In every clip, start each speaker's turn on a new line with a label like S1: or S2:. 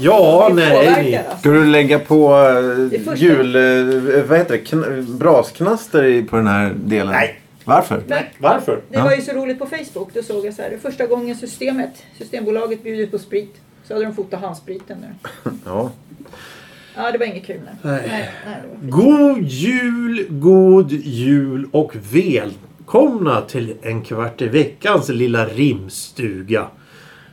S1: Ja,
S2: Vi
S1: nej.
S2: påverkar oss.
S3: Ska du lägga på eh,
S2: Det första.
S3: jul... eh, Vad heter det? Kn- brasknaster i- på den här delen?
S1: Nej.
S3: Varför?
S2: Men
S1: Varför?
S2: det var ju så roligt på Facebook. Då såg jag så här. Det är första gången systemet, Systembolaget bjuder på sprit. Så hade de fotat handspriten nu.
S3: Ja.
S2: Ja, det var inget kul. Nej.
S1: Nej.
S2: Nej, nej, det var fint.
S1: God jul, god jul och välkomna till en kvart i veckans lilla rimstuga.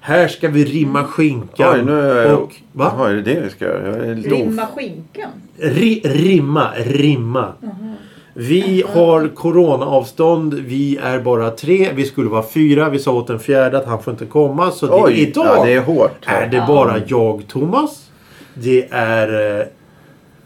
S1: Här ska vi rimma skinkan.
S3: Oj, nu är jag...
S1: och, va?
S3: Jaha, är det det vi ska göra? Jag är lite of...
S2: Rimma skinkan.
S1: Ri, rimma, rimma. Vi har coronaavstånd. Vi är bara tre. Vi skulle vara fyra. Vi sa åt den fjärde att han får inte komma. Så det,
S3: Oj,
S1: idag
S3: ja, det är hårt.
S1: är det bara jag, Thomas. Det är eh,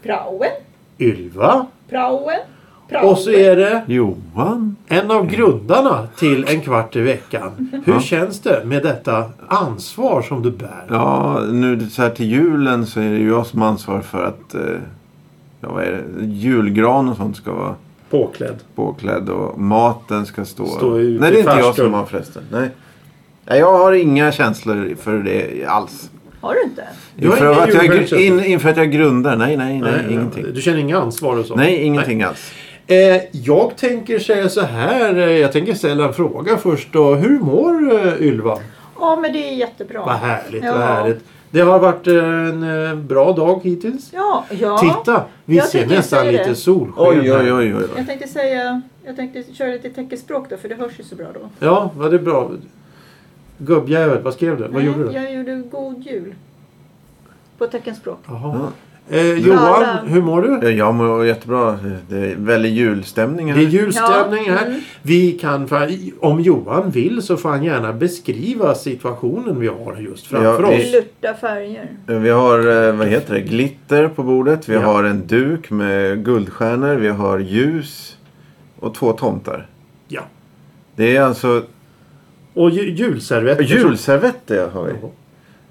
S2: Prauen.
S1: Ylva.
S2: Prauen. Prauen.
S1: Och så är det
S3: Johan?
S1: En av grundarna till En kvart i veckan. Hur känns det med detta ansvar som du bär?
S3: Ja, nu så här till julen så är det ju jag som ansvarar för att eh, ja, vad är det? julgran och sånt ska vara
S1: Påklädd.
S3: påklädd och maten ska stå...
S1: Stå ute
S3: Nej,
S1: i
S3: det är inte jag
S1: farstun.
S3: som har förresten. Nej. Nej, jag har inga känslor för det alls.
S2: Har du inte?
S1: Du har
S3: Inför
S1: inga
S3: att, jag,
S1: julgrankänslor?
S3: gr- in, inför att jag grundar? Nej, nej, nej,
S1: Nej,
S3: ingenting.
S1: Du känner inga ansvar och så?
S3: Nej, ingenting alls.
S1: Nej. Eh, jag tänker säga så här. eh, Jag tänker ställa en fråga först då. Hur mår eh, Ylva?
S2: Ja, men det är jättebra.
S1: Vad härligt,
S2: Ja.
S1: vad härligt. Det har varit eh, en eh, bra dag hittills.
S2: Ja, ja.
S1: Titta, vi
S2: Jag
S1: ser
S2: tänker
S1: nästan
S2: säga det.
S1: lite solsken
S3: Oj,
S1: här.
S3: oj, oj. oj, oj.
S2: Jag tänkte säga, jag tänkte köra lite teckenspråk då för det hörs ju så bra då.
S1: Ja, vad det är bra. Gubbjävel, vad skrev du? vad
S2: Nej,
S1: gjorde du?
S2: Jag gjorde god jul. På teckenspråk.
S1: Jaha. Eh, Johan,
S2: Alla.
S1: hur mår du?
S3: Ja, Eh, Jag mår jättebra. Det är väldigt julstämning
S1: Det är
S3: här.
S1: julstämning
S2: Ja,
S1: här.
S2: mm.
S1: Vi kan, fa- om Johan vill så får han gärna beskriva situationen vi har just framför
S3: Ja,
S1: oss.
S3: vi-
S2: Lurta färger.
S3: Vi har, eh, vad heter det, glitter på bordet. Vi
S1: Ja.
S3: har en duk med guldstjärnor. Vi har ljus och två tomtar.
S1: Ja.
S3: Det är alltså
S1: Och ju, julservetter.
S3: julservetter har vi.
S1: Jaha.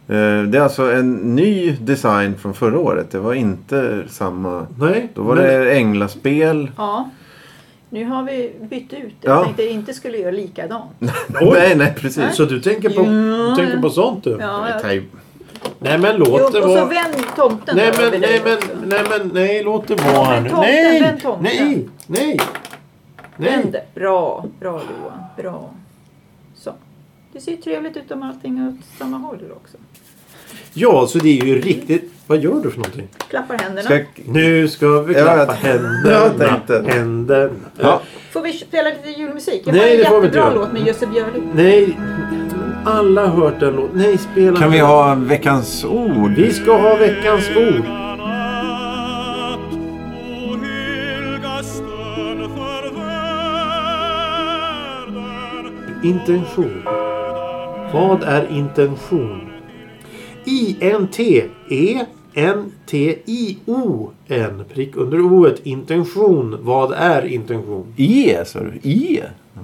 S3: Eh, Det är alltså en ny design från förra året. Det var inte samma.
S1: Nej.
S3: Då var
S1: men-
S3: det änglaspel.
S2: Ja. Nu har vi bytt ut det.
S3: Ja.
S2: Jag tänkte inte skulle göra likadant.
S1: Oj.
S3: Nej, nej, precis.
S1: Så du tänker på,
S2: Ja,
S1: du tänker på sånt du?
S2: Ja,
S3: Nej,
S2: ja.
S3: taj-
S1: Nej men
S2: Jo,
S1: låt det
S2: och så
S1: vara.
S2: vänd tomten
S1: Nej
S2: då
S1: men,
S2: vid
S1: nej
S2: dig också.
S1: men, nej men, nej låt det vara här nu.
S2: tomten,
S1: Nej!
S2: den tomten.
S1: Nej! Nej!
S2: Vänd.
S1: Nej!
S2: Bra, bra Johan. Bra. Så. Det ser ju trevligt ut om allting är åt samma håll också.
S1: Ja, så det är ju riktigt... Vad gör du för någonting?
S2: Klappar händerna.
S3: Ska jag...
S1: Nu ska vi
S3: Ja, jag-
S1: klappa
S3: jag
S1: händerna.
S3: tänkte.
S1: Händerna.
S3: ja.
S2: Får vi spela lite julmusik? Jag
S1: Nej,
S2: har en
S1: det får vi inte
S2: jättebra
S1: göra.
S2: låt med Jussi Björling.
S1: Nej, alla har hört den låten. Nej, spela
S3: Kan
S1: inte.
S3: vi ha veckans ord?
S1: Vi ska ha veckans ord. Intention. Vad är intention? E I-N-T-E-N-T-I-O-N. Prick under O-et. Intention. Vad är intention?
S3: E, sa du? E?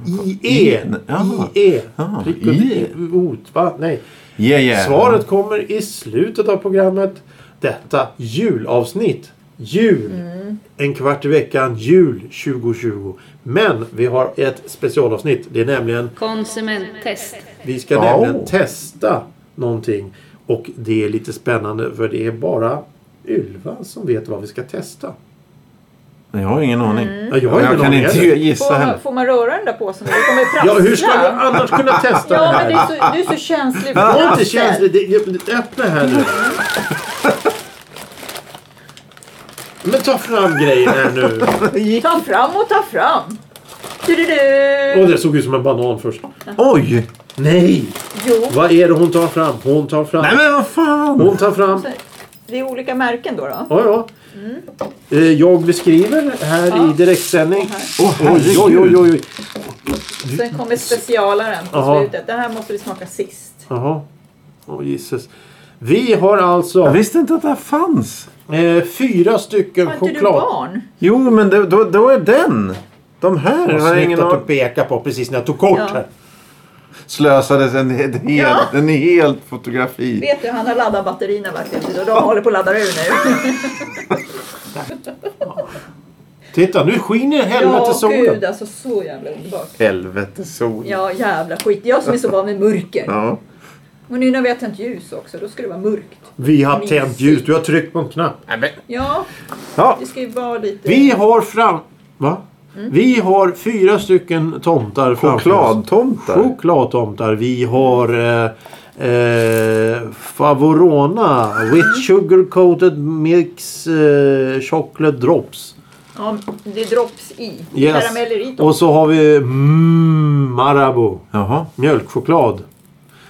S1: I-E.
S3: Jaha.
S1: I-E.
S3: Jaha,
S1: E. Prick under
S3: I. E.
S1: O-et. Va? Nej.
S3: Yeah, yeah.
S1: Svaret kommer i slutet av programmet. Detta julavsnitt. Jul.
S2: Mm.
S1: En kvart i veckan. Jul 2020. Men vi har ett specialavsnitt. Det är nämligen
S4: Konsumenttest.
S1: vi ska
S3: Ja.
S1: nämligen testa någonting. Och det är lite spännande för det är bara Ylva som vet vad vi ska testa.
S3: Jag har ingen aning.
S1: Ja, jag har
S3: jag
S1: ingen
S3: kan
S1: aning
S3: inte
S1: heller.
S3: gissa
S2: Mm. Får
S3: heller.
S2: man, får man röra den där påsen? Det kommer ju
S1: Ja,
S2: prassla.
S1: hur ska vi annars kunna testa det
S2: Ja, men
S1: här?
S2: du är så, du är så känslig
S1: Det
S2: för
S1: är
S2: prassel.
S1: inte känsligt. Det- det- det- Öppna här nu. Men ta fram grejen här nu.
S2: Ta fram och ta fram. Du, du, du.
S1: Åh, det såg ut som en banan först.
S3: Oj!
S1: Nej!
S2: Jo,
S1: Vad är det hon tar fram? Hon tar fram.
S3: Nej men vad fan!
S1: Hon tar fram.
S2: så- det är olika märken då. då.
S1: Ja, ja.
S2: Mm.
S1: Eh, Jag beskriver här i direktsändning.
S3: Åh
S1: Oj, oj, oj, oj. oj.
S2: Sen kommer specialaren på
S1: Jaha.
S2: slutet. Det här måste vi smaka sist.
S1: Jaha. Åh, Jesus. Vi har alltså
S3: Jag visste inte att det här fanns.
S1: eh, fyra stycken
S2: Har inte du
S1: choklad.
S2: barn?
S3: Jo men det, då, då är den. De här
S1: Vad
S3: har jag
S1: snyggt
S3: ingen
S1: att du
S3: aning
S1: pekar på precis när jag tog kort
S2: Ja.
S1: här.
S3: Slösades en, en, hel,
S2: Ja.
S3: en hel fotografi.
S2: Vet du, han har laddat batterierna verkligen. Och de håller på att ladda ur nu.
S1: Titta, nu skiner helvete solen.
S2: gud alltså så jävla underbart.
S3: Helvete sol.
S2: Ja, jävla skit. Jag som är så van vid mörker.
S3: Ja.
S2: Och nu när vi har tänt ljus också, då ska det vara mörkt.
S1: Vi har
S2: Mysigt.
S1: tänt ljus. Du har tryckt på en knapp.
S2: Ja,
S1: Ja.
S2: det ska ju vara lite...
S1: Vi har fram... Va? Vi har fyra stycken tomtar framför oss.
S3: Chokladtomtar.
S1: Chokladtomtar. Vi har eh, eh, Favorona with sugar coated mix eh, chocolate drops.
S2: Ja, det är drops i.
S1: Yes.
S2: Karameller i dem.
S1: Och så har vi mm, Marabou
S3: Jaha.
S1: mjölkchoklad.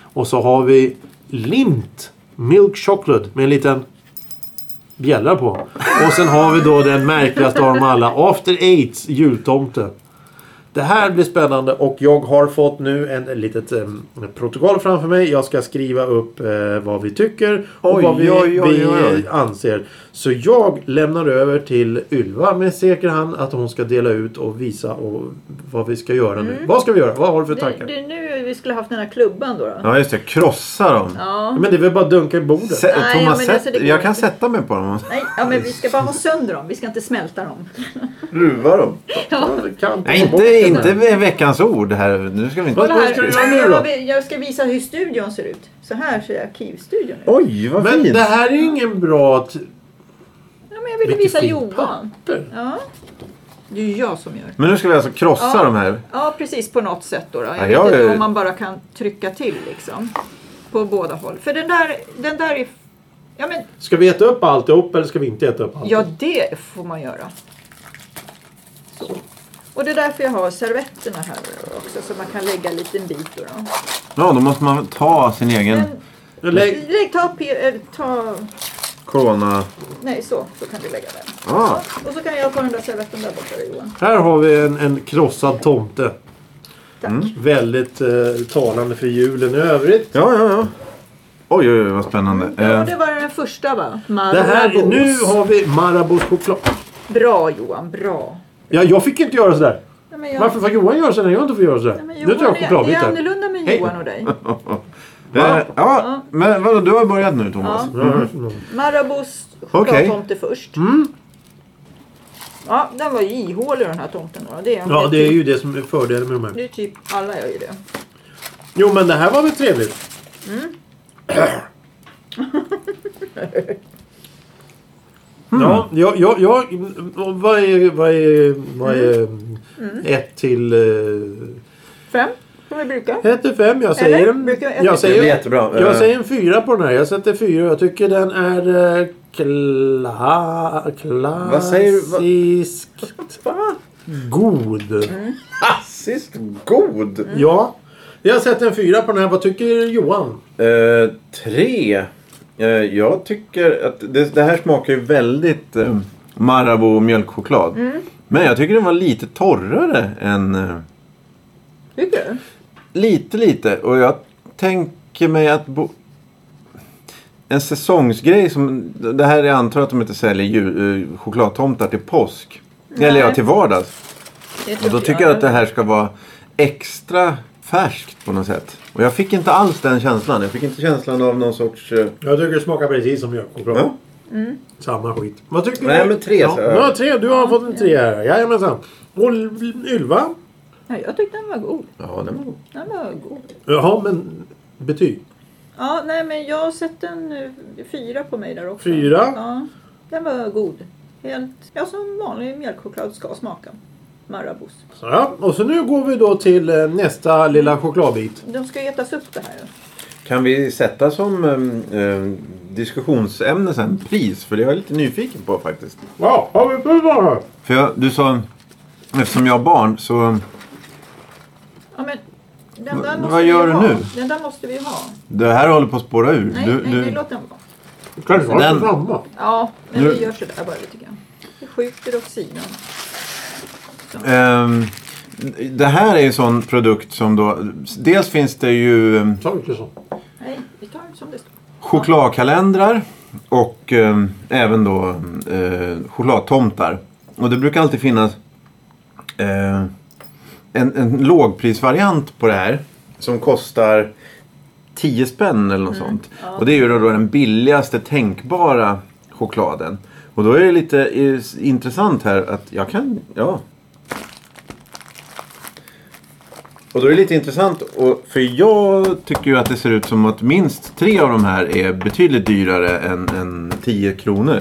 S1: Och så har vi Lint milk chocolate med en liten bjällra på. Och sen har vi då den märkligaste av dem alla. After Eights jultomte. Det här blir spännande och jag har fått nu en ett litet em, protokoll framför mig. Jag ska skriva upp eh, vad vi tycker och
S3: Oj,
S1: vad vi,
S3: oj, oj,
S1: vi
S3: oj, oj.
S1: eh, anser. Så jag lämnar över till Ylva med säker hand att hon ska dela ut och visa och vad vi ska göra nu. Vad ska vi göra? Vad har Mm. du för
S2: Det,
S1: tankar?
S2: det är nu vi skulle haft den här klubban då. då. Ja.
S3: Ja just det, krossa dem.
S1: Ja, Men det är väl bara att dunka i bordet?
S3: Sä-
S2: Nej,
S3: Thomas,
S2: men alltså,
S3: sätt-
S2: det går
S3: jag kan
S2: inte.
S3: sätta mig på dem.
S2: Nej, ja, men vi ska bara ha sönder dem. Vi ska inte smälta dem.
S3: Ruva dem.
S1: Ja, det kan
S3: Nej,
S1: ta bort
S3: inte,
S1: den
S3: inte
S1: där.
S3: med veckans ord här. Nu ska vi
S1: Vad-
S3: inte...
S1: vad ska du göra nu då?
S2: Jag, vill- jag ska visa hur studion ser ut. Så här ser arkivstudion ut.
S3: Oj, vad
S1: Men
S3: fint.
S1: det här är ju ingen bra... T-
S2: Ja, men jag ville
S1: Vilket
S2: visa
S1: fint
S2: Johan.
S1: papper.
S2: Ja. Det är ju jag som gör.
S3: Men nu ska vi alltså krossa
S2: Ja.
S3: de här.
S2: Ja, precis på något sätt då. då. Jag
S3: Ja,
S2: vet
S3: jag
S2: inte
S3: är-
S2: om man bara kan trycka till liksom. På båda håll. För den där, den där är... Ja, men
S1: Ska vi äta upp alltihop eller ska vi inte äta upp allt?
S2: Ja, det får man göra. Så. Och det är därför jag har servetterna här också så man kan lägga en liten bit. Då då.
S3: Ja, då måste man ta sin egen
S2: Men,
S1: Lägg...
S2: lägg, ta, pe- eh, ta...
S3: corona...
S2: Nej, så. Så kan du lägga den.
S3: Ah,
S2: Och så kan jag ta den där servetten där borta Johan.
S1: Här har vi en, en krossad tomte.
S2: Tack.
S1: Mm. Väldigt eh, talande för julen i övrigt.
S3: ja, ja, ja. Oj, oj, oj, vad spännande.
S2: Ja,
S3: Eh,
S2: det var den första va? Marabous.
S1: Det här, nu har vi Marabous choklad.
S2: Bra Johan, bra.
S1: Ja, jag fick inte göra sådär.
S2: Nej, men jag...
S1: Varför får Johan göra sådär när jag inte får göra sådär?
S2: Nej, men
S1: nu tar
S2: Johan,
S1: jag
S2: är- det är
S1: chokladbitar.
S2: annorlunda med
S1: Hej.
S2: Johan och dig.
S3: eh,
S2: Ja.
S3: Ja, men vadå, du har börjat nu Thomas?
S1: Ja, ja, ja.
S2: Marabous chokladtomte först.
S1: Mm.
S2: Ja, den var ju ihålig den här tomten. Då. Det är en typ.
S1: Ja, det är ju det som är fördelen med de här.
S2: Det är typ alla gör ju det.
S1: Jo, men det här var väl trevligt? Mm. Ja, jag, jag, jag, och vad är, vad är, vad är Mm. ett till... Eh,
S2: Fem, som vi brukar.
S1: ett till fem. Jag säger,
S2: Eller?
S1: en,
S2: Brukar jag-
S1: jag,
S3: Det blir
S1: säger,
S3: jättebra.
S1: jag
S3: Eh,
S1: säger en fyra på den här. Jag sätter fyra. Jag tycker den är eh, kla,
S3: Vad säger du? Vad-
S1: klassiskt god.
S3: Klassiskt god!
S1: Ja. Jag sätter en fyra på den här. Vad tycker Johan?
S3: Eh, tre. Eh, jag tycker att det, det här smakar ju väldigt eh, Marabou mjölkchoklad. Men jag tycker den var lite torrare än... Eh,
S2: Tycker du?
S3: lite, lite. Och jag tänker mig att... Bo- en säsongsgrej som... Det här är jag antar att de inte säljer ju, eh, chokladtomtar till påsk. Eller ja, till vardags.
S2: Det tror
S3: Och då tycker jag att det här ska vara extra färskt på något sätt. Och jag fick inte alls den känslan. Jag fick inte känslan av någon sorts... eh,
S1: Jag tycker det smakar precis som mjölkchoklad.
S3: Ja.
S1: Samma skit. Vad tycker du?
S3: Nej, men tre,
S1: Ja,
S3: så jag.
S1: ja, tre. Du har fått en tre här. Jajamensan. Och Ylva?
S2: Ja, jag tyckte den var god.
S3: Ja, den var god.
S2: Den var god.
S1: Jaha, men betyg?
S2: Ja, nej men jag har sett en eh, fyra på mig där också.
S1: Fyra?
S2: Ja, den var god. Helt, ja som vanlig mjölkchoklad ska smaka. Marabous.
S1: Så, ja. Och så nu går vi då till eh, nästa lilla chokladbit.
S2: De ska ju ätas upp det här.
S3: Kan vi sätta som eh, eh, diskussionsämne sen pris? För det är jag lite nyfiken på faktiskt.
S1: Ja, har vi provat här?
S3: För jag, du sa, eftersom jag har barn så
S2: Ja, men den där
S3: Vad-
S2: måste
S3: vad
S2: vi
S3: gör
S2: ju
S3: du
S2: ha.
S3: nu?
S2: Den där måste vi ha.
S3: det här håller på att spåra ur.
S2: Nej,
S3: du,
S2: nej,
S3: du,
S2: nej, låt den vara.
S1: Kan det vara
S3: Den-
S1: samma?
S2: Ja, men
S3: Nu-
S2: vi gör sådär bara lite grann. Vi skjuter åt sidan.
S3: ehm, det här är ju en sån produkt som då, dels finns det ju eh,
S1: Ta inte så.
S2: Nej, vi tar som det står.
S3: chokladkalendrar och eh, även då eh, chokladtomtar. Och det brukar alltid finnas eh, en, en lågprisvariant på det här som kostar 10 spänn eller något sånt. Och det är ju då, då den billigaste tänkbara chokladen. Och då är det lite eh, s- intressant här att jag kan, ja. Och då är det lite intressant, och, för jag tycker ju att det ser ut som att minst tre av de här är betydligt dyrare än, än 10 kronor.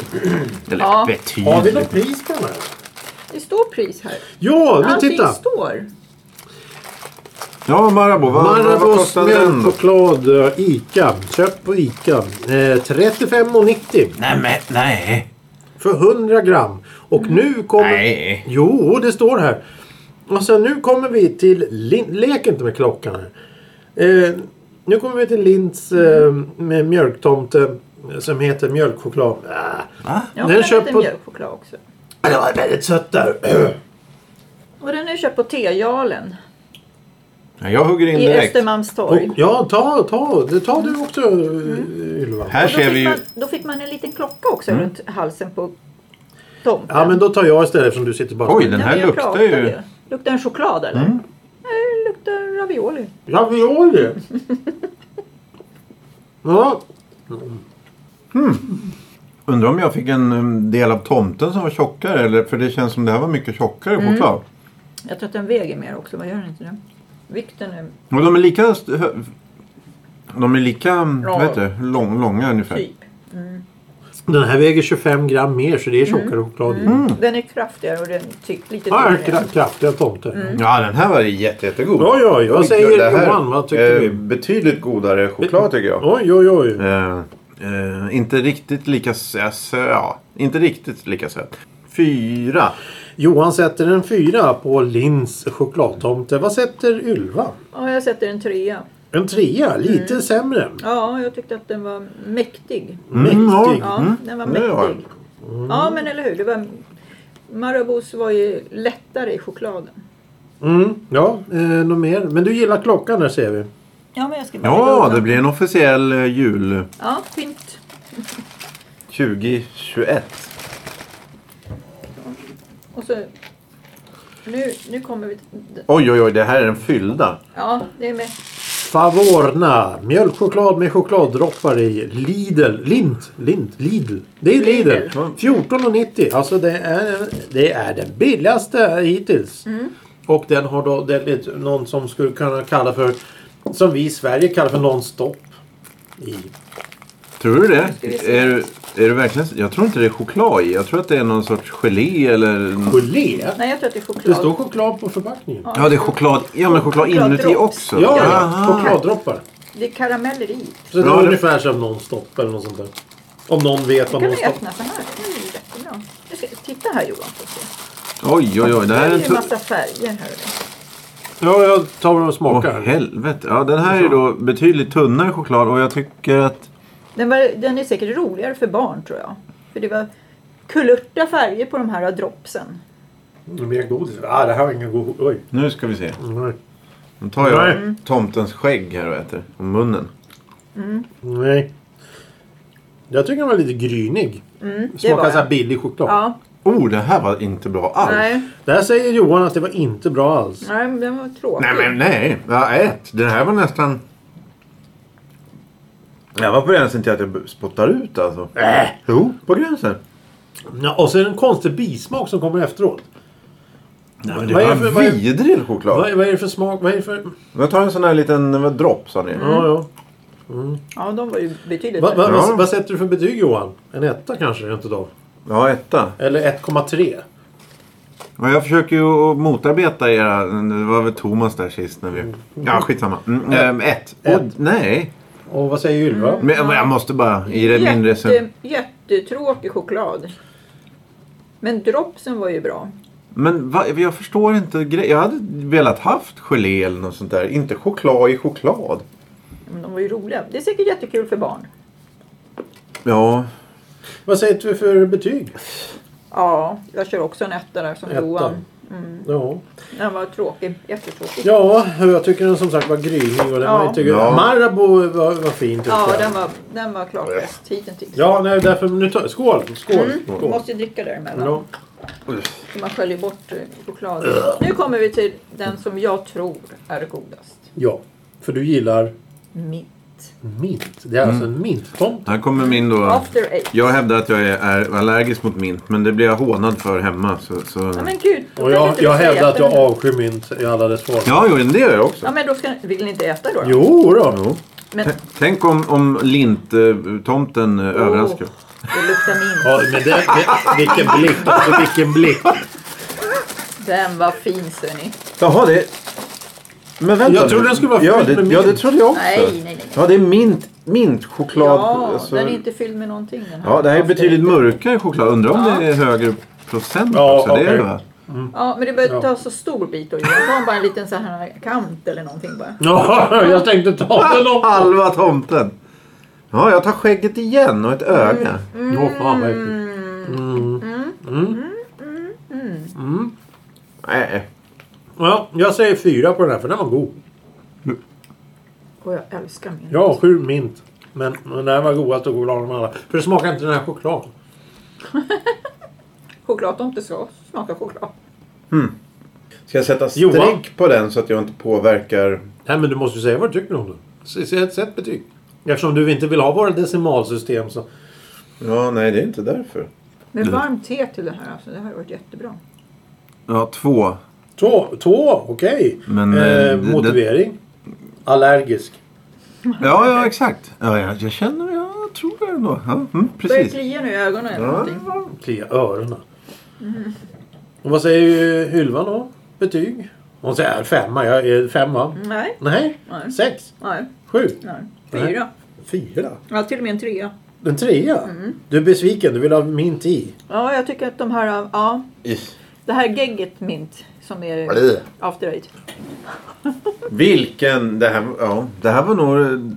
S3: Eller
S2: Ja.
S1: Har vi
S3: betydligt.
S1: något pris på den här?
S2: Det står pris här.
S1: Ja, nu
S2: Allting
S1: titta!
S2: står.
S3: Ja, Marabou. Vad, vad
S1: Marabous
S3: kostar den då?
S1: mjölkchoklad eh, ICA. Köp på ICA. Eh, 35,90
S3: Nej, men nej.
S1: för 100 gram. Och nu kommer...
S3: Mm. Nej.
S1: Jo, det står här. Och sen nu kommer vi till... Lin... Lek inte med klockan här. Eh, nu kommer vi till Linds eh, med mjölktomte eh, som heter mjölkchoklad. Ah.
S3: Va?
S2: Ja,
S1: Den
S2: den
S1: köp
S2: köper
S1: på-
S2: på... mjölkchoklad också.
S1: Det var väldigt sött där.
S2: Och den är köpt på Tejalen
S3: Ja, jag hugger in
S2: i
S3: direkt.
S1: Och,
S2: Östermalmstorg.
S1: ja, ta, ta, det tar du också eh, Ylva.
S3: Mm. Här
S2: Och då,
S3: ser
S2: fick
S3: vi ju... Mm.
S2: man, då fick man en liten klocka också runt halsen på tomten.
S1: Ja, men då tar jag istället eftersom du sitter bara
S3: Oj, den
S2: Ja,
S3: här
S2: men jag
S3: luktar
S2: pratade
S3: ju... Mm.
S2: Luktar den choklad eller? Nej, det luktar ravioli.
S1: Ravioli! ja.
S3: Undrar om jag fick en um, del av tomten som var tjockare? Eller, för det känns som det här var mycket tjockare
S2: Mm.
S3: choklad.
S2: Jag tror att den väger mer också. Vad gör den inte det? Vikten är
S3: Och de är lika... st- hö- De är lika um,
S2: Ja.
S3: vad heter det, lång, långa ungefär.
S2: typ.
S1: Den här väger 25 gram mer så det är tjockare
S3: Mm.
S1: choklad i.
S2: Den är kraftigare och den tyck, lite
S1: Ja, här,
S2: tyngre.
S1: kra- kraftiga tomter.
S2: Mm.
S3: Ja, den här var jätte, jättegod.
S1: Ja, ja, jag
S3: Oj,
S1: säger
S3: det här
S1: Johan, vad tycker
S3: är
S1: du?
S3: Betydligt godare choklad tycker jag.
S1: Oj, oj, oj.
S3: Eh, eh, inte riktigt lika söt. Ja, inte riktigt lika söt. Fyra.
S1: Johan sätter en fyra på Linds chokladtomte. Vad sätter Ylva?
S2: Ja, jag sätter en trea.
S1: En trea, lite
S3: Mm.
S1: sämre.
S2: Ja, jag tyckte att den var mäktig.
S1: Mäktig.
S3: Mm, ja.
S2: Ja, den var
S3: det var
S2: mäktig. Ja, men eller hur. Det var, Marabous var ju lättare i chokladen.
S1: Mm, ja, eh, något mer? Men du gillar klockan där ser vi.
S2: Ja, men jag ska bara lägga
S3: Ja,
S2: undan.
S3: det blir en officiell eh, jul
S2: Ja, fint.
S3: 2021.
S2: Och så... Nu, nu kommer vi... till-
S3: Oj, oj, oj, det här är den fyllda.
S2: Ja, det är med.
S1: Favorna. Mjölkchoklad med chokladdroppar i. Lidl. Lind. Lind. Lidl. Det är Lidl.
S2: Lidl.
S1: 14,90. Alltså det är, det är den billigaste hittills. Och den har då det är lite någon som skulle kunna kalla för som vi i Sverige kallar för non-stop. I.
S3: Tror du det?
S2: ska vi se.
S3: Är, är det verkligen... Jag tror inte det är choklad i. Jag tror att det är någon sorts gelé eller...
S1: Gelé.
S2: Nej, jag tror att det är choklad.
S1: Det står choklad på förpackningen.
S3: Ja, det är choklad. Ja, men choklad inuti
S2: Chokladdrops.
S3: också.
S1: Ja, ja.
S3: Aha.
S1: chokladdroppar.
S2: Det är karameller i.
S1: Så det
S3: Ja,
S1: är
S3: det-
S1: ungefär som non-stop eller något sånt där. Om någon vet
S2: Då
S1: vad
S2: kan du
S1: non-stop
S2: öppna så här. Det är ju jättebra. Nu ska, titta här Johan. får se.
S3: Oj, oj, oj. Det
S2: Det
S3: här är
S2: är
S3: en...
S2: ju en
S3: tu-
S2: massa färger här. och
S1: Ja,
S2: där.
S1: jag tar och
S3: Åh,
S1: smakar.
S3: helvete. Ja, den här är ju då betydligt tunnare choklad och jag tycker att...
S2: Den, var, den är säkert roligare för barn tror jag. För det var kulörta färger på de här dropsen.
S1: Mer godis. Ah, det här var ingen god... Oj.
S3: Nu ska vi se.
S1: Nej.
S3: Nu tar jag
S1: Nej.
S3: tomtens skägg här och äter. Och munnen.
S1: Nej. Jag tycker den var lite grynig.
S2: Mm, det var
S1: Smakar så här
S2: den.
S1: billig choklad.
S2: Ja,
S3: Oh, det här var inte bra alls.
S2: nej,
S1: Där säger Johan att det var inte bra alls.
S2: nej, men den var tråkig.
S3: Nej men nej. Ja, ät. Den här var nästan... Jag var på gränsen till att jag spottar ut alltså.
S1: Äh.
S3: Jo, på gränsen.
S1: Ja, och så är det en konstig bismak som kommer efteråt.
S3: Nej,
S1: men
S3: men
S1: det
S3: det
S1: Vad är
S3: var
S1: var det för- vad är-
S3: vidrig
S1: Vad,
S3: choklad.
S1: är- vad är det för smak? Vad är det för...
S2: Mm.
S3: Jag tar en sån här liten vad, dropp sa ni.
S1: Ja, ja.
S2: Ja, de var ju betydligt
S1: Va, va,
S2: bättre.
S1: Vad, vad sätter du för betyg Johan? En etta kanske rent utav?
S3: Ja, etta.
S1: Eller 1,3?
S3: Ja, jag försöker ju att motarbeta era... Det var väl Thomas där sist när vi... Ja, skitsamma. Mm, ehm, ett.
S1: Ett.
S3: Och, nej.
S1: Och vad säger Ylva?
S2: Mm.
S3: Men jag- jag måste bara... I det min resen.
S2: Jätte, jättetråkig choklad. Men dropsen var ju bra.
S3: Men va, jag förstår inte grejen. Jag hade velat haft gelé eller något sånt där. Inte choklad i choklad.
S2: Men de var ju roliga. Det är säkert jättekul för barn.
S3: Ja,
S1: Vad sätter du för betyg?
S2: Ja, jag kör också en etta där som
S1: Ettan.
S2: Johan. Mm.
S1: Ja.
S2: Den var tråkig. Jättetråkig.
S1: ja, jag tycker den som sagt var grynig. Och den
S2: Ja.
S1: var inte...
S3: Ja.
S1: Marabou var, var fin tyckte
S2: Ja,
S1: jag.
S2: den var, den var klart bäst hittills.
S1: Ja, nej, därför... Nu tar... Skål! Skål!
S2: Man
S1: Skål.
S2: Mm. måste ju dricka däremellan.
S1: Ja.
S2: Så man sköljer bort eh, chokladen. Nu kommer vi till den som jag tror är godast.
S1: Ja, för du gillar...
S2: Mitt. mint.
S1: Mint. Det är alltså
S3: Mm.
S1: en minttomte.
S3: Här kommer min då.
S2: After eight.
S3: Jag hävdar att jag är, är allergisk mot mint, men det blir jag hånad för hemma. Så, så...
S2: Ja, men gud. då
S1: Och
S2: kan
S1: jag,
S2: inte
S1: jag
S2: vi säga
S1: hävdar att jag
S2: den-
S1: avskyr mint i alla dess former.
S3: Ja, jo, det gör jag också.
S2: Ja, men då ska, vill ni inte äta då? då?
S1: Jo då.
S3: Jo.
S2: Men,
S3: T- Tänk om, om linttomten oh. överraskar.
S2: Det luktar mint.
S1: Ja, men det, det, vilken blick. Alltså vilken blick.
S2: Den var fin, Sunny.
S3: Jaha, det... Men vänta
S1: Jag
S3: nu.
S1: trodde den skulle vara
S3: ja,
S1: fylld
S3: det,
S1: med
S3: Ja, det
S1: mint.
S3: trodde jag också.
S2: Nej, nej, nej, nej.
S3: Ja, det är mint, mintchoklad.
S2: Ja,
S3: alltså-
S2: den är inte fylld med någonting. Den här.
S3: ja, det här är
S2: After
S3: betydligt
S2: eight.
S3: mörkare choklad. Undrar om det är högre procent
S1: Ja,
S3: också. Det är
S1: okej.
S3: det va?
S2: Ja, men du behöver inte
S1: Ja.
S2: ta så stor bit då. Johan. Ta bara en liten så här kant eller någonting bara.
S1: Ja, jag tänkte ta den också.
S3: Halva tomten. Ja, jag tar skägget igen och ett
S2: Mm.
S3: öga.
S1: Åh fan vad äckligt.
S3: Nej.
S1: Ja, jag säger fyra på den här för den var god.
S2: Och jag älskar min.
S1: Jag avskyr mint. Men men den här var godast och godast av dem alla. För det smakar inte den här choklad.
S2: Choklad om det ska smaka choklad.
S3: Ska jag sätta
S1: Johan?
S3: streck på den så att jag inte påverkar?
S1: Nej men du måste ju säga vad du tycker om den. S- Sätt, sätt betyg. Eftersom du inte vill ha våra decimalsystem så...
S3: Ja, nej det är inte därför.
S2: Men varmt te till det här alltså. Det här har varit jättebra.
S3: Ja, två.
S1: Två, två okej.
S3: Men, eh,
S1: Eh,
S3: det-
S1: motivering? Allergisk.
S3: Ja, ja exakt. Ja, jag, jag känner, jag tror det ändå. Ja, mm,
S2: Börjar
S3: precis.
S2: klia nu i ögonen eller
S3: Ja.
S2: någonting.
S1: Klia öronen. Och vad säger Hylvan då? Betyg? Hon säger "Äh, femma. Jag är femma.
S2: Nej,
S1: Nej.
S2: Mm. Nej.
S1: Sex.
S2: nej,
S1: Sju.
S2: nej. Fyra.
S1: Fyra.
S2: Ja, till och med en trea.
S1: En trea. Du är besviken. Du vill ha mint i.
S2: Ja, jag tycker att de här... Ja, det här gegget mint som är
S3: Blä.
S2: after eight.
S3: Vilken... Det här, ja, det här var nog... eh,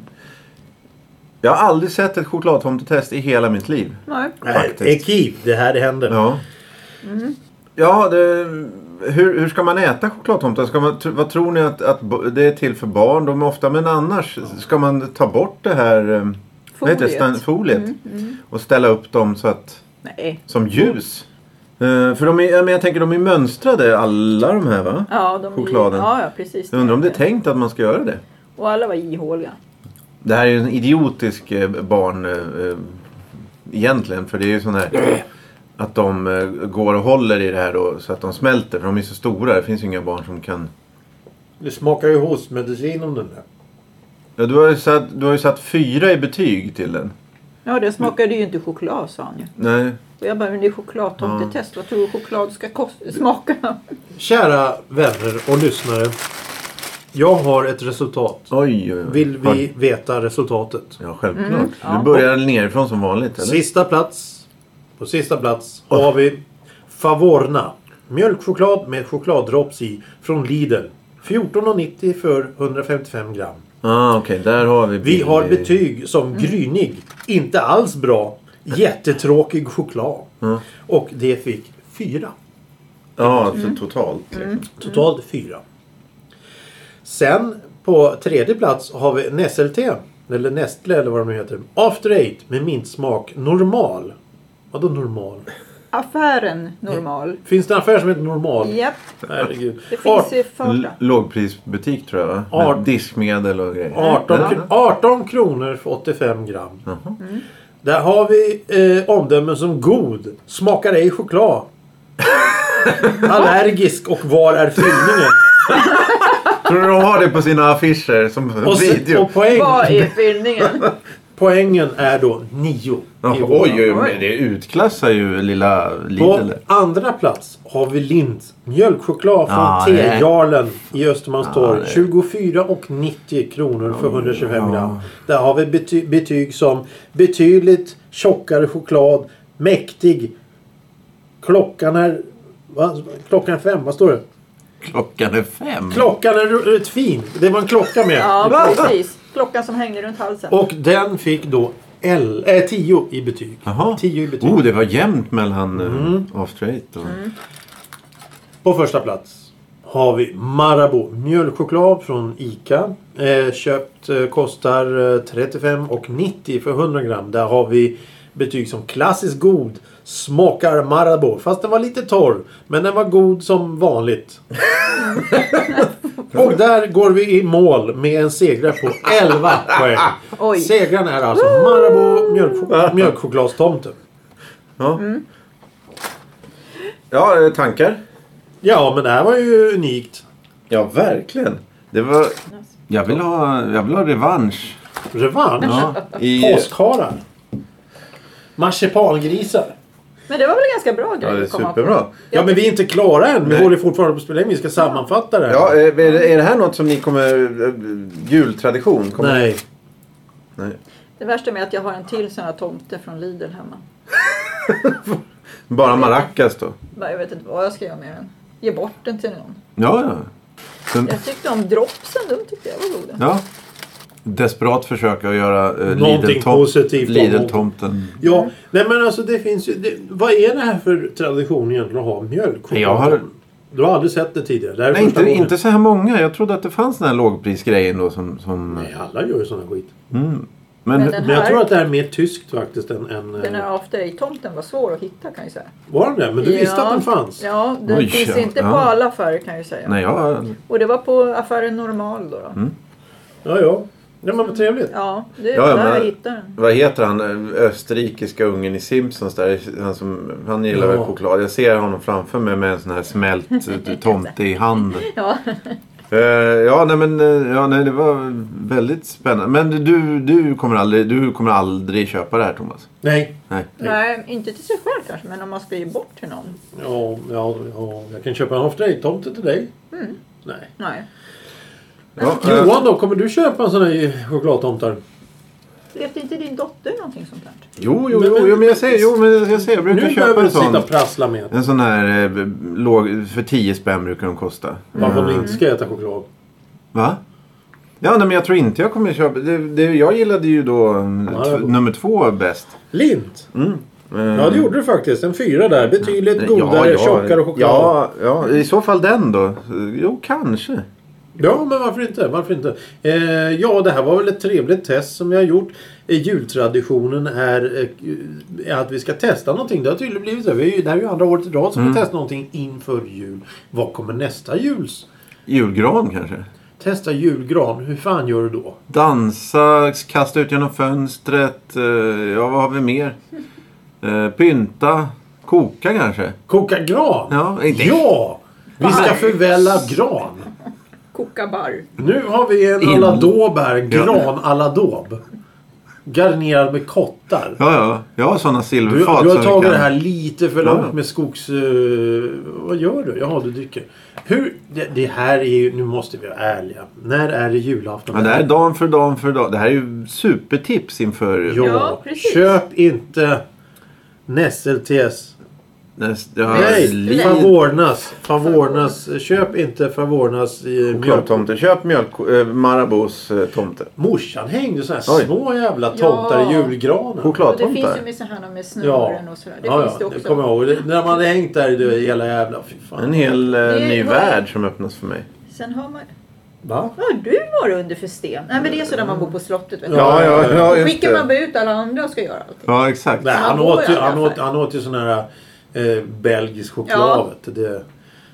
S3: Jag har aldrig sett ett chokladtomtetest i hela mitt liv.
S2: Nej.
S3: Faktiskt.
S1: Nej, Ekiv. Det här händer.
S3: Ja. Ja, det, hur, hur ska man äta chokladtomtar? Ska man, tr- vad tror ni att, att bo- det är till för barn? De är ofta, men annars ska man ta bort det här eh, vad heter det?
S2: Foliet.
S3: Stan- foliet och ställa upp dem så att,
S2: Nej.
S3: som ljus? Eh, för de är, ja, men jag tänker de är mönstrade alla de här va?
S2: Ja, de
S3: Chokladen.
S2: Ja, ja, precis.
S3: Jag undrar om det är tänkt att man ska göra det.
S2: Och alla var ihåliga.
S3: Det här är ju en idiotisk eh, barn eh, eh, egentligen. För det är ju sån här att de eh, går och håller i det här då, så att de smälter. För de är så stora. Det finns ju inga barn som kan...
S1: Det smakar ju hostmedicin om den där.
S3: Ja, du, har ju satt, du har ju satt fyra i betyg till den.
S2: Ja, det smakade ju inte choklad sa han ju.
S3: Nej.
S2: Och jag bara, men det är chokladtomtetest. Vad tror du choklad ska kost- smaka?
S1: Kära vänner och lyssnare. Jag har ett resultat.
S3: Oj, oj, oj.
S1: Vill vi Mm. veta resultatet?
S3: Ja, självklart.
S2: ja.
S3: Du börjar nerifrån som vanligt, eller?
S1: Sista plats. På sista plats har vi Favorna. Mjölkchoklad med chokladdrops i från Lidl. 14,90 för 155 gram.
S3: Ah, okej. Där har vi...
S1: Vi har betyg som grynig, inte alls bra, jättetråkig choklad. Och det fick fyra.
S3: Ja, alltså totalt.
S1: Mm.
S3: liksom.
S1: Totalt fyra. Sen på tredje plats har vi Nesselte. Eller Nestle eller vad de nu heter. After Eight med mintsmak. Normal. Vadå normal?
S2: Affären normal.
S1: Finns det en affär som heter Normal?
S2: Japp,
S1: Herregud.
S2: det finns i
S3: L-
S2: Farsta.
S3: lågprisbutik tror jag va?
S1: Art.
S3: Med diskmedel och grejer.
S1: 18,
S3: Ja. Mm.
S1: kr- 18 kronor för 85 gram. Där har vi eh, omdömen som god, smakar ej choklad, allergisk och var är fyllningen?
S3: Tror du de har det på sina affischer som
S1: Och, se-
S3: video?
S1: och poäng,
S2: Vad är fyllningen?
S1: poängen är då 9.
S3: Ja, oj, oj, oj, men det utklassar ju lilla
S1: På
S3: Lidl.
S1: andra plats har vi Lind. Mjölkchoklad från
S3: Ah, nej.
S1: T-jarlen i Östermalmstorg.
S3: Ah, nej.
S1: 24,90 kronor för 125 gram. Där har vi bety betyg som betydligt tjockare choklad, mäktig. Klockan är... Va? Klockan är fem, vad står det?
S3: Klockan är fem.
S1: Klockan är r- rätt fin. Det var en klocka med.
S2: Ja, precis. Klockan som hänger runt halsen.
S1: Och den fick då L, äh, 10 i betyg.
S3: Jaha.
S1: 10 i betyg.
S3: Oh, det var jämnt mellan mm. off straight och...
S1: På första plats har vi Marabou mjölkchoklad från ICA. Eh, köpt eh, kostar eh, 35,90 för 100 gram. Där har vi betyg som klassiskt god. Smakar Marabou. Fast den var lite torr. Men den var god som vanligt. Och där går vi i mål med en segrare på 11 poäng.
S2: Oj.
S1: Segraren är alltså Marabou mjölkcho- mjölkchokladstomte.
S3: Ja. Ja, eh, tankar?
S1: Ja, men det här var ju unikt.
S3: Ja, verkligen. Det var... Jag vill ha, jag vill ha revansch.
S1: Revansch.
S3: Ja, i...
S1: Påskharar. Marsipangrisar.
S2: Men det var väl en ganska bra grej
S3: ja det är
S2: att komma på.
S3: superbra.
S1: Ja, men vi är inte klara än. Vi
S3: Nej.
S1: håller fortfarande på att spela in. Vi ska sammanfatta det. här.
S3: Ja, eh, är det, är det här något som ni kommer... eh, Jultradition? Kommer...
S1: Nej.
S3: Nej.
S2: Det värsta med att jag har en till sån här tomte från Lidl hemma.
S3: Bara maracas då?
S2: Bara, Jag vet inte vad jag ska göra med den. Ge bort den till någon.
S3: Ja, ja. Sen,
S2: Jag tyckte om dropsen. De tyckte jag var goda.
S3: ja. Desperat försök att göra eh,
S1: Någonting
S3: Lidl-tom-
S1: positivt om
S3: Lidl-tomten.
S1: Ja, nej men alltså det finns ju... Det, vad är det här för tradition egentligen att ha mjölkchoklad?
S3: Nej, jag har-
S1: Du har aldrig sett det tidigare? Det här är
S3: Nej,
S1: första
S3: inte,
S1: gången.
S3: inte så här många. Jag trodde att det fanns den här lågprisgrejen då som... som...
S1: Nej, alla gör ju sån här skit.
S3: Men,
S2: Men den-
S1: Men jag
S2: här-
S1: tror att det här är mer tyskt faktiskt än... än
S2: Den
S1: eh,
S2: här After Eight-tomten var svår att hitta kan jag säga.
S1: Var den det? Men du visste
S2: Ja.
S1: att den fanns?
S2: Ja, den
S3: Oj,
S2: finns
S3: ja.
S2: inte på
S3: Ja.
S2: alla affärer kan jag säga.
S3: nej, jag...
S2: Och det var på affären Normal då. då.
S1: Ja, ja. Ja, men vad trevligt.
S2: Ja, det är
S3: Ja, ja,
S2: där
S3: men-
S2: jag hittade den.
S3: Vad heter han? Österrikiska ungen i Simpsons där. Han, som, han gillar väl
S1: Ja.
S3: choklad. Jag ser honom framför mig med en sån här smält eh, tomte i handen.
S2: Ja.
S3: Eh, ja, nej men eh, ja, nej, det var väldigt spännande. Men du, du, kommer aldrig, du kommer aldrig köpa det här Thomas?
S1: Nej.
S3: Nej.
S2: Nej, inte till sig själv kanske, men om man ska ge bort till någon.
S1: Ja, ja, ja. Jag kan köpa en After Eight-tomte till dig.
S3: Mm.
S1: Nej.
S2: Nej.
S3: Ja, eh,
S1: Alltså, Johan då, kommer du köpa en sån här eh, chokladtomtar?
S2: Levde inte din dotter någonting sånt där?
S3: jo, jo, jo, jo, men jag säger, jo, men jag, säger, jag
S1: Nu
S3: brukar
S1: behöver
S3: köpa
S1: du
S3: en
S1: inte sitta
S3: sån.
S1: och prassla med.
S3: En sån här eh, b- låg, för 10 spänn brukar de kosta.
S1: Varför du inte ska äta choklad.
S3: Va? Ja, nej, men jag tror inte jag kommer köpa. Det, det, jag gillade ju då mm,
S1: Ja, det var
S3: t-
S1: gott.
S3: nummer två bäst.
S1: Lint!
S3: Mm. Eh.
S1: Ja, det gjorde du faktiskt. En fyra där. Betydligt godare, tjockare choklad.
S3: Ja, ja, i så fall den då. Jo, kanske.
S1: Ja, men varför inte? Varför inte? Eh, ja, det här var väl ett trevligt test som vi har gjort. Eh, jultraditionen är eh, att vi ska testa någonting. Det har tydligen blivit så. Vi är ju, det här är ju andra året i rad som
S3: Mm.
S1: vi testar någonting inför jul. Vad kommer nästa juls?
S3: Julgran kanske.
S1: Testa julgran. Hur fan gör du då?
S3: Dansa, kasta ut genom fönstret. eh, Ja, vad har vi mer? Eh, Pynta. Koka kanske.
S1: Koka gran?
S3: Ja, inte-
S1: Ja! Vi ska förvälla gran.
S2: Koka barr.
S1: Nu har vi en
S3: In-
S1: aladåb här. En
S3: Ja.
S1: gran-aladåb. Garnerad med kottar.
S3: Ja, ja. Jag har sådana
S1: Du, du
S3: silverfat.
S1: har
S3: som vi
S1: tagit
S3: kan-
S1: det här lite för långt
S3: Ja.
S1: med skogs... eh, vad gör du? Jaha, du dricker. Hur... Det, det här är ju... Nu måste vi vara ärliga. När är det julafton?
S3: Ja, det här är dagen för dagen för dag. Det här är ju supertips inför...
S1: Ja,
S2: Ja, precis.
S1: köp inte Nesseltes.
S3: Näst, ja,
S1: Nej,
S3: li-
S1: Favornas. Favornas. Köp inte Favornas i mjölk.
S3: Mjölktomte. Köp mjölk... Äh, Marabous eh, tomte.
S1: Morsan hängde såna här
S3: Oj.
S1: små jävla tomtar
S2: Ja.
S1: i julgranen.
S2: Och det finns
S3: Chokladtomtar.
S2: ju med så här med
S1: Ja,
S2: snören och sådär. Det
S1: ja,
S2: finns det
S1: ja.
S2: också.
S1: det kommer jag ihåg. Det- När man hade hängt där i det hela jävla... Fy
S3: En
S1: fan.
S3: hel eh,
S2: Det
S3: ny
S2: var-
S3: värld som öppnas för mig.
S2: Sen har man...
S1: Va?
S2: Vad har du varit under för sten? Nej men det är så när man bor på slottet vet du.
S1: Ja, ja, ja,
S2: Då skickar man bara ut alla andra och ska göra allting.
S3: Ja, exakt.
S1: Nej, han,
S2: Man mår
S1: åt ju,
S2: i alla
S1: han, åt,
S2: fall.
S1: han åt ju sån här eh, belgisk choklad.
S2: Ja.
S1: vet du. Det,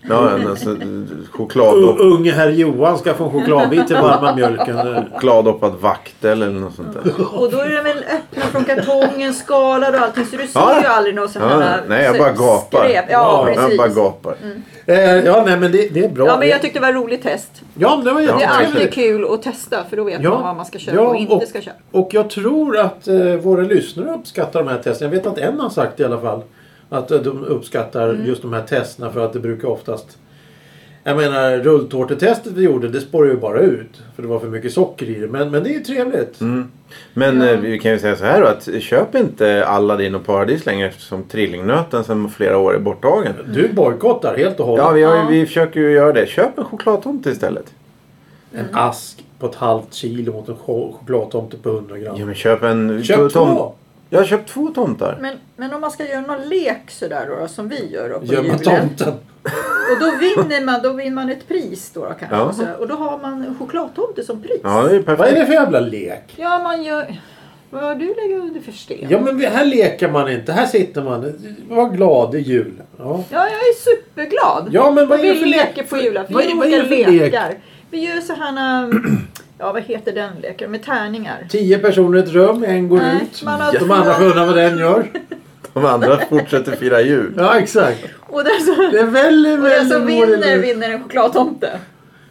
S3: Ja, en alltså,
S1: U-
S3: chokladdopp,
S1: unge herr Johan ska få en chokladbit till varma mjölken. där.
S3: chokladdoppad vaktel eller något sånt där.
S2: Och då är den väl öppna från kartongen, skalad och allting. Så du ser
S3: Ja.
S2: ju aldrig någon sån
S3: Ja,
S2: här
S3: nej, jag
S2: så-
S3: bara gapar.
S2: skräp.
S1: Ja,
S2: Ja,
S1: jag
S3: Jag bara
S2: precis.
S3: gapar.
S1: Eh, ja, nej men det, det är bra.
S2: Ja, men jag tyckte det var ett roligt test.
S1: ja, men det var
S2: Det är
S1: jättetrevligt.
S2: alltid kul att testa för då vet man vad man ska köpa
S1: ja,
S2: och inte ska köpa.
S1: Och jag tror att eh, våra lyssnare uppskattar de här testerna. Jag vet att en har sagt i alla fall att eh, de uppskattar just de här testerna för att det brukar oftast... Jag menar rulltårtetestet vi gjorde det spårade ju bara ut. För det var för mycket socker i det. Men, men det är ju trevligt.
S3: Mm. Men eh, vi kan ju säga så här då att köp inte Aladdin och Paradis längre eftersom trillingnöten sedan flera år är borttagen.
S1: Du bojkottar helt och hållet.
S3: Ja, vi, har, ju- vi försöker ju göra det. Köp en chokladtomte istället.
S1: En ask på ett halvt kilo mot en cho- chokladtomte på 100 gram.
S3: Ja, men köp en...
S1: Köp
S3: tom-
S1: två!
S3: Ja, köp två tomtar.
S2: Men, men om man ska göra någon lek sådär då, då som vi gör då på
S1: Gömma
S2: julen.
S1: tomten.
S2: Och då vinner man, då vinner man ett pris då, då kanske.
S3: Ja.
S2: Och, sådär. och då har man en chokladtomte som pris.
S3: Ja, det är ju
S1: Vad är det
S3: perfekt.
S1: för jävla lek?
S2: Ja, man gör... Vad har du lägger under för sten?
S1: Ja men vi- här leker man inte. Här sitter man. Var glad det är jul. Ja.
S2: Ja, jag är superglad.
S1: Ja, men vad
S2: Och
S1: är det
S2: vi
S1: för lek?
S2: leker på julafton.
S1: Vad
S2: Vad
S1: är-
S2: är,
S1: vad är det för lek?
S2: lekar. Vi gör så här, äh, ja vad heter den leken, med tärningar.
S1: Tio personer i ett rum, en går
S2: Nej,
S1: ut.
S2: man har
S1: De
S2: två.
S1: andra får undra vad den gör.
S3: De andra fortsätter fira jul.
S1: Ja, exakt.
S2: Och den som,
S1: Det är väldigt,
S2: och den
S1: väldigt
S2: som
S1: dålig
S2: vinner,
S1: lek.
S2: vinner en chokladtomte.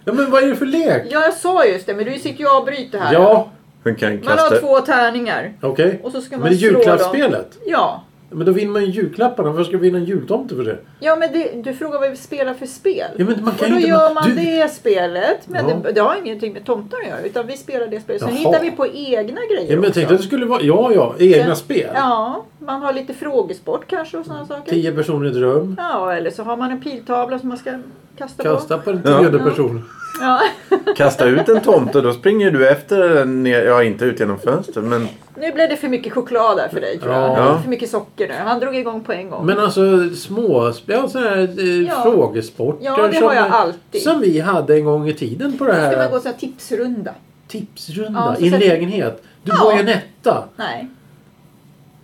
S1: Ja, men vad är det för lek?
S2: Ja, jag sa just det, men du sitter ju och avbryter här.
S1: Ja,
S3: Hon kan
S2: Man har
S3: kasta...
S2: två tärningar.
S1: okej.
S2: Och så ska
S1: Men
S2: man
S1: det är
S2: slå dem.
S1: julklappsspelet.
S2: Ja.
S1: Men då vinner man ju julklapparna. Varför ska vi vinna en jultomte för det?
S2: Ja men det, du frågar vad vi spelar för spel.
S1: Ja, men man kan
S2: och då
S1: ju inte-
S2: gör man
S1: du-
S2: det spelet. Men
S1: Ja.
S2: det, det har ingenting med tomtar att göra. Utan vi spelar det spelet. Sen
S1: Jaha.
S2: hittar vi på egna grejer
S1: Ja, men jag
S2: också.
S1: tänkte att det skulle vara... Ja, ja. Egna
S2: Sen-
S1: spel.
S2: Ja, man har lite frågesport kanske och sådana saker.
S1: Tio personer i ett rum.
S2: Ja, eller så har man en piltavla som man ska kasta, på.
S1: Kasta på den
S3: Ja.
S1: tionde
S2: Ja.
S1: personen.
S2: Ja.
S3: kasta ut en tomte. Då springer du efter den ner. Ja, inte ut genom fönstret. Men
S2: Nu blev det för mycket choklad där för dig tror jag.
S1: Ja.
S2: Det är För mycket socker nu. Han drog igång på en gång.
S1: Men alltså småspel, sådana här eh,
S2: Ja.
S1: frågesporter.
S2: ja, det
S1: som,
S2: har jag alltid.
S1: Som vi hade en gång i tiden på det
S2: Ska man
S1: här
S2: gå sån här tipsrunda?
S1: tipsrunda
S2: Ja, så
S1: i en
S2: sätter-
S1: lägenhet. Du
S2: Ja.
S1: var ju en etta.
S2: Nej.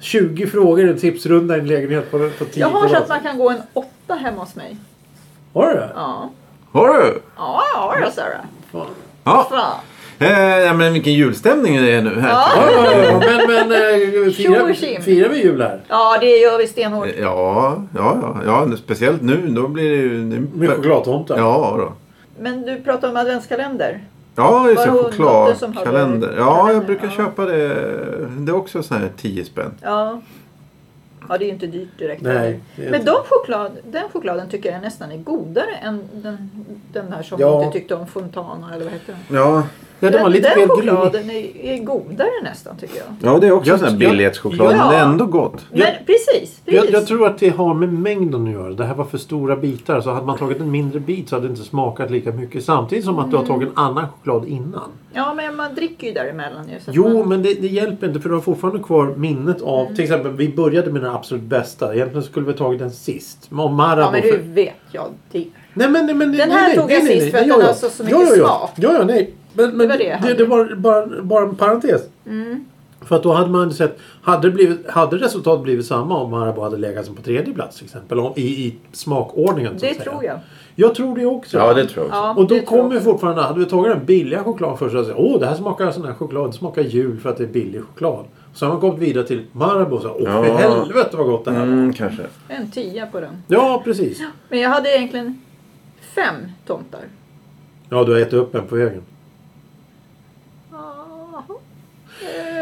S1: 20 frågor i en tipsrunda i en lägenhet på, på 10
S2: Jag har så att
S1: kvadrat.
S2: man kan gå en åtta hemma hos mig.
S1: Har du det?
S2: Ja.
S3: har du?
S2: Ja, ja
S1: Mm.
S2: då Sara.
S1: Fan.
S3: Ja.
S2: Fan.
S3: Eh, ja, men vilken julstämning det är nu här.
S2: Ja.
S1: Ja, ja, ja. Men, men eh,
S2: Tjo
S1: firar,
S2: och tjim.
S1: firar vi jul här?
S2: Ja, det gör vi
S1: Mm.
S2: stenhårt.
S3: Eh, Ja, ja, ja, ja. Speciellt nu. Då blir det ju... det-
S1: Med chokladtomtar?
S3: Ja, då.
S2: Men du pratar om adventskalender.
S3: Ja, just
S2: Var
S3: det.
S2: det hon, dotter, som hade
S3: Chokladkalender. Ja, jag
S2: kalender?
S3: brukar
S2: Ja.
S3: köpa det. Det är också så här 10 spänn.
S2: Ja. Ja, det är ju inte dyrt direkt.
S1: Nej. det är
S2: Men
S1: inte-
S2: de choklad, den chokladen tycker jag nästan är godare än den, den här som
S1: Ja.
S2: hon inte tyckte om, Fontana eller vad heter den?
S3: Ja,
S1: Ja, det var lite
S2: den
S1: mer gul.
S2: chokladen är, är godare nästan tycker jag.
S3: ja det är också
S1: Jag-
S3: sån här
S1: jag-
S3: billighetschoklad.
S2: Ja.
S3: Men det är ändå gott.
S1: Jag-
S2: Men precis, precis.
S1: Jag, jag tror att det har med mängden att göra. Det här var för stora bitar. Så hade man tagit en mindre bit så hade det inte smakat lika mycket. Samtidigt som att du har
S2: Mm.
S1: tagit en annan choklad innan.
S2: Ja, men man dricker ju däremellan ju. Så att
S1: Jo,
S2: man,
S1: men det, det hjälper inte för du har fortfarande kvar minnet av...
S2: Mm.
S1: Till exempel, vi började med den absolut bästa. Egentligen skulle vi ha tagit den sist. Om Marabou...
S2: ja, men du vet jag det.
S1: Nej, men, nej, men,
S2: Den
S1: nej,
S2: här
S1: nej,
S2: tog
S1: nej,
S2: jag
S1: nej,
S2: sist
S1: nej,
S2: för att
S1: ja,
S2: den
S1: ja.
S2: har så- så
S1: ja,
S2: mycket
S1: ja,
S2: smak.
S1: Ja, ja, nej. Men, men
S2: Det var det jag
S1: det,
S2: hade. Mm.
S1: det var bara, bara en parentes. För att då hade man sett... Hade, det blivit, hade resultatet blivit samma om Marabou hade legat som på tredje plats till exempel? om- I, i smakordningen. så
S2: Det
S1: att säga.
S2: tror jag.
S1: Jag tror det också.
S3: Ja, det tror jag också.
S2: Ja,
S1: Och
S2: det
S1: då
S2: tror jag
S1: kommer ju fortfarande, hade vi tagit den billiga chokladen först och sagt åh det här smakar sån här choklad, det smakar jul för att det är billig choklad. Så har man kommit vidare till Marabou och sagt åh för
S3: Ja.
S1: helvete vad gott det här var."
S3: Mm, kanske.
S2: En tia på den.
S1: Ja precis.
S2: Men jag hade egentligen fem tomtar.
S1: Ja du har ätit upp en på vägen.
S2: Jaha.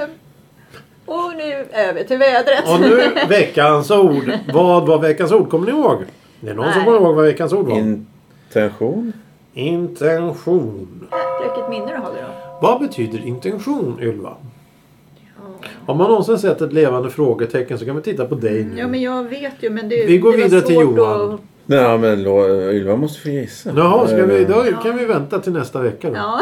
S2: Eh, Och nu över till vädret.
S1: Och nu veckans ord. Vad var veckans ord? Kommer ni ihåg? Det är någon som
S2: Nej.
S1: kommer ihåg vad veckans ord var.
S3: Intention?
S1: Intention.
S2: Vilket minne du hade då.
S1: Vad betyder intention Ylva? Om man någonsin sett ett levande frågetecken så kan vi titta på dig nu.
S2: Ja men jag vet ju men det,
S1: Vi går
S2: det var
S1: vidare till
S2: svårt
S1: Johan.
S2: att-
S3: Nej, men lo- Ylva måste få gissa.
S1: Jaha, ska vi,
S3: Eh,
S1: då kan vi vänta till nästa vecka då.
S2: Ja,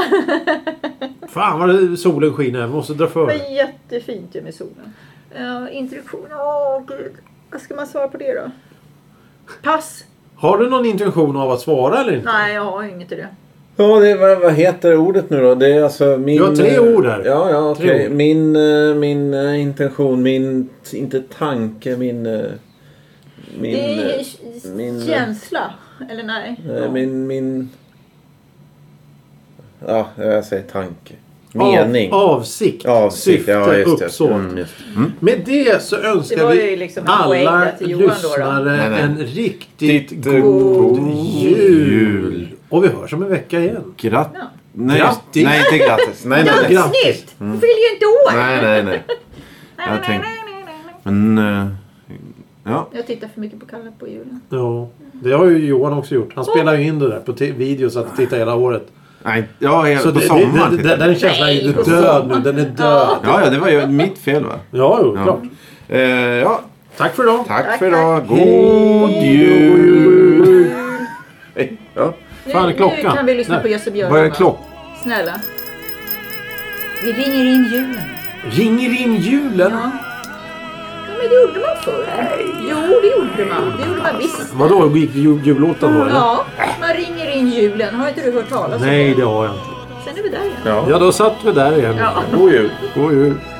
S1: Fan vad det- solen skiner. Vi måste dra för.
S2: men jättefint ju med solen. Uh, introduktion, åh gud. Vad ska man svara på det då? Pass?
S1: Har du någon intention av att svara eller inte?
S2: Nej jag har ju inget i det.
S3: Ja, det, vad, vad heter ordet nu då? Det är alltså min...
S1: Du har tre
S3: eh,
S1: ord här.
S3: Ja, ja,
S1: Tre
S3: okej.
S1: ord.
S3: Min, eh, min eh, intention, min... Inte tanke, min... eh, Min...
S2: det är
S3: eh,
S2: ju
S3: min-
S2: känsla. Eller nej.
S3: eh, Min... min ja, jag säger tanke.
S1: Av-
S3: Mening.
S1: avsikt.
S3: Avsikt,
S1: syfte.
S3: ja, just det.
S1: uppsåt.
S3: Mm, just det. Mm.
S1: Med det så
S2: Det
S1: önskar
S2: var
S1: vi
S2: ju liksom en poäng
S1: alla
S2: där till Johan då, då.
S1: lyssnare
S3: Nej, nej.
S1: en riktigt
S3: Riktigt
S1: god
S3: god
S1: jul.
S3: jul.
S1: Och vi hörs om en vecka igen.
S3: Gratt...
S2: Ja.
S3: Nej, just-
S1: Grattis.
S3: nej, inte grattis. Nej, nej, nej.
S2: Duktsnytt!
S1: Mm.
S2: Du fyller ju inte år!
S3: Nej, nej, nej. Jag tänkte- Men... eh, Ja.
S2: Jag tittar för mycket på Kalle på julen.
S1: Ja, det har ju Johan också gjort. Han spelar ju in det där på te- video så att det tittar hela året.
S3: Nej, ja, jag-
S1: Så
S3: på
S1: det,
S3: sommaren.
S1: det, det, det, den känslan är ju
S2: Nej, på
S1: död nu. Den är död.
S3: Ja, ja, det var ju mitt fel va?
S1: Ja, jo,
S3: Ja.
S1: klart.
S3: Eh, ja,
S1: Tack för idag.
S3: tack
S2: Tack,
S3: för idag.
S2: tack.
S3: God jul! Hej. Ja.
S2: Nu,
S1: Fan,
S2: nu
S1: klockan.
S2: kan vi lyssna
S1: Nej.
S2: på Jösse Björn.
S3: Vad är
S2: va?
S3: klockan?
S2: Snälla. Vi ringer in julen.
S1: Ringer in julen.
S2: Ja. ja men det gjorde man förr. Jo, det gjorde man. Det gjorde man visst.
S1: Vadå, gick jul- jullåten då eller?
S2: Ja, man ringer in julen. Har inte du hört talas om
S1: Nej,
S2: det?
S1: det har jag inte.
S2: Sen är vi där igen.
S3: Ja.
S1: Ja, då satt vi där igen.
S2: Ja.
S3: God jul!
S1: God jul.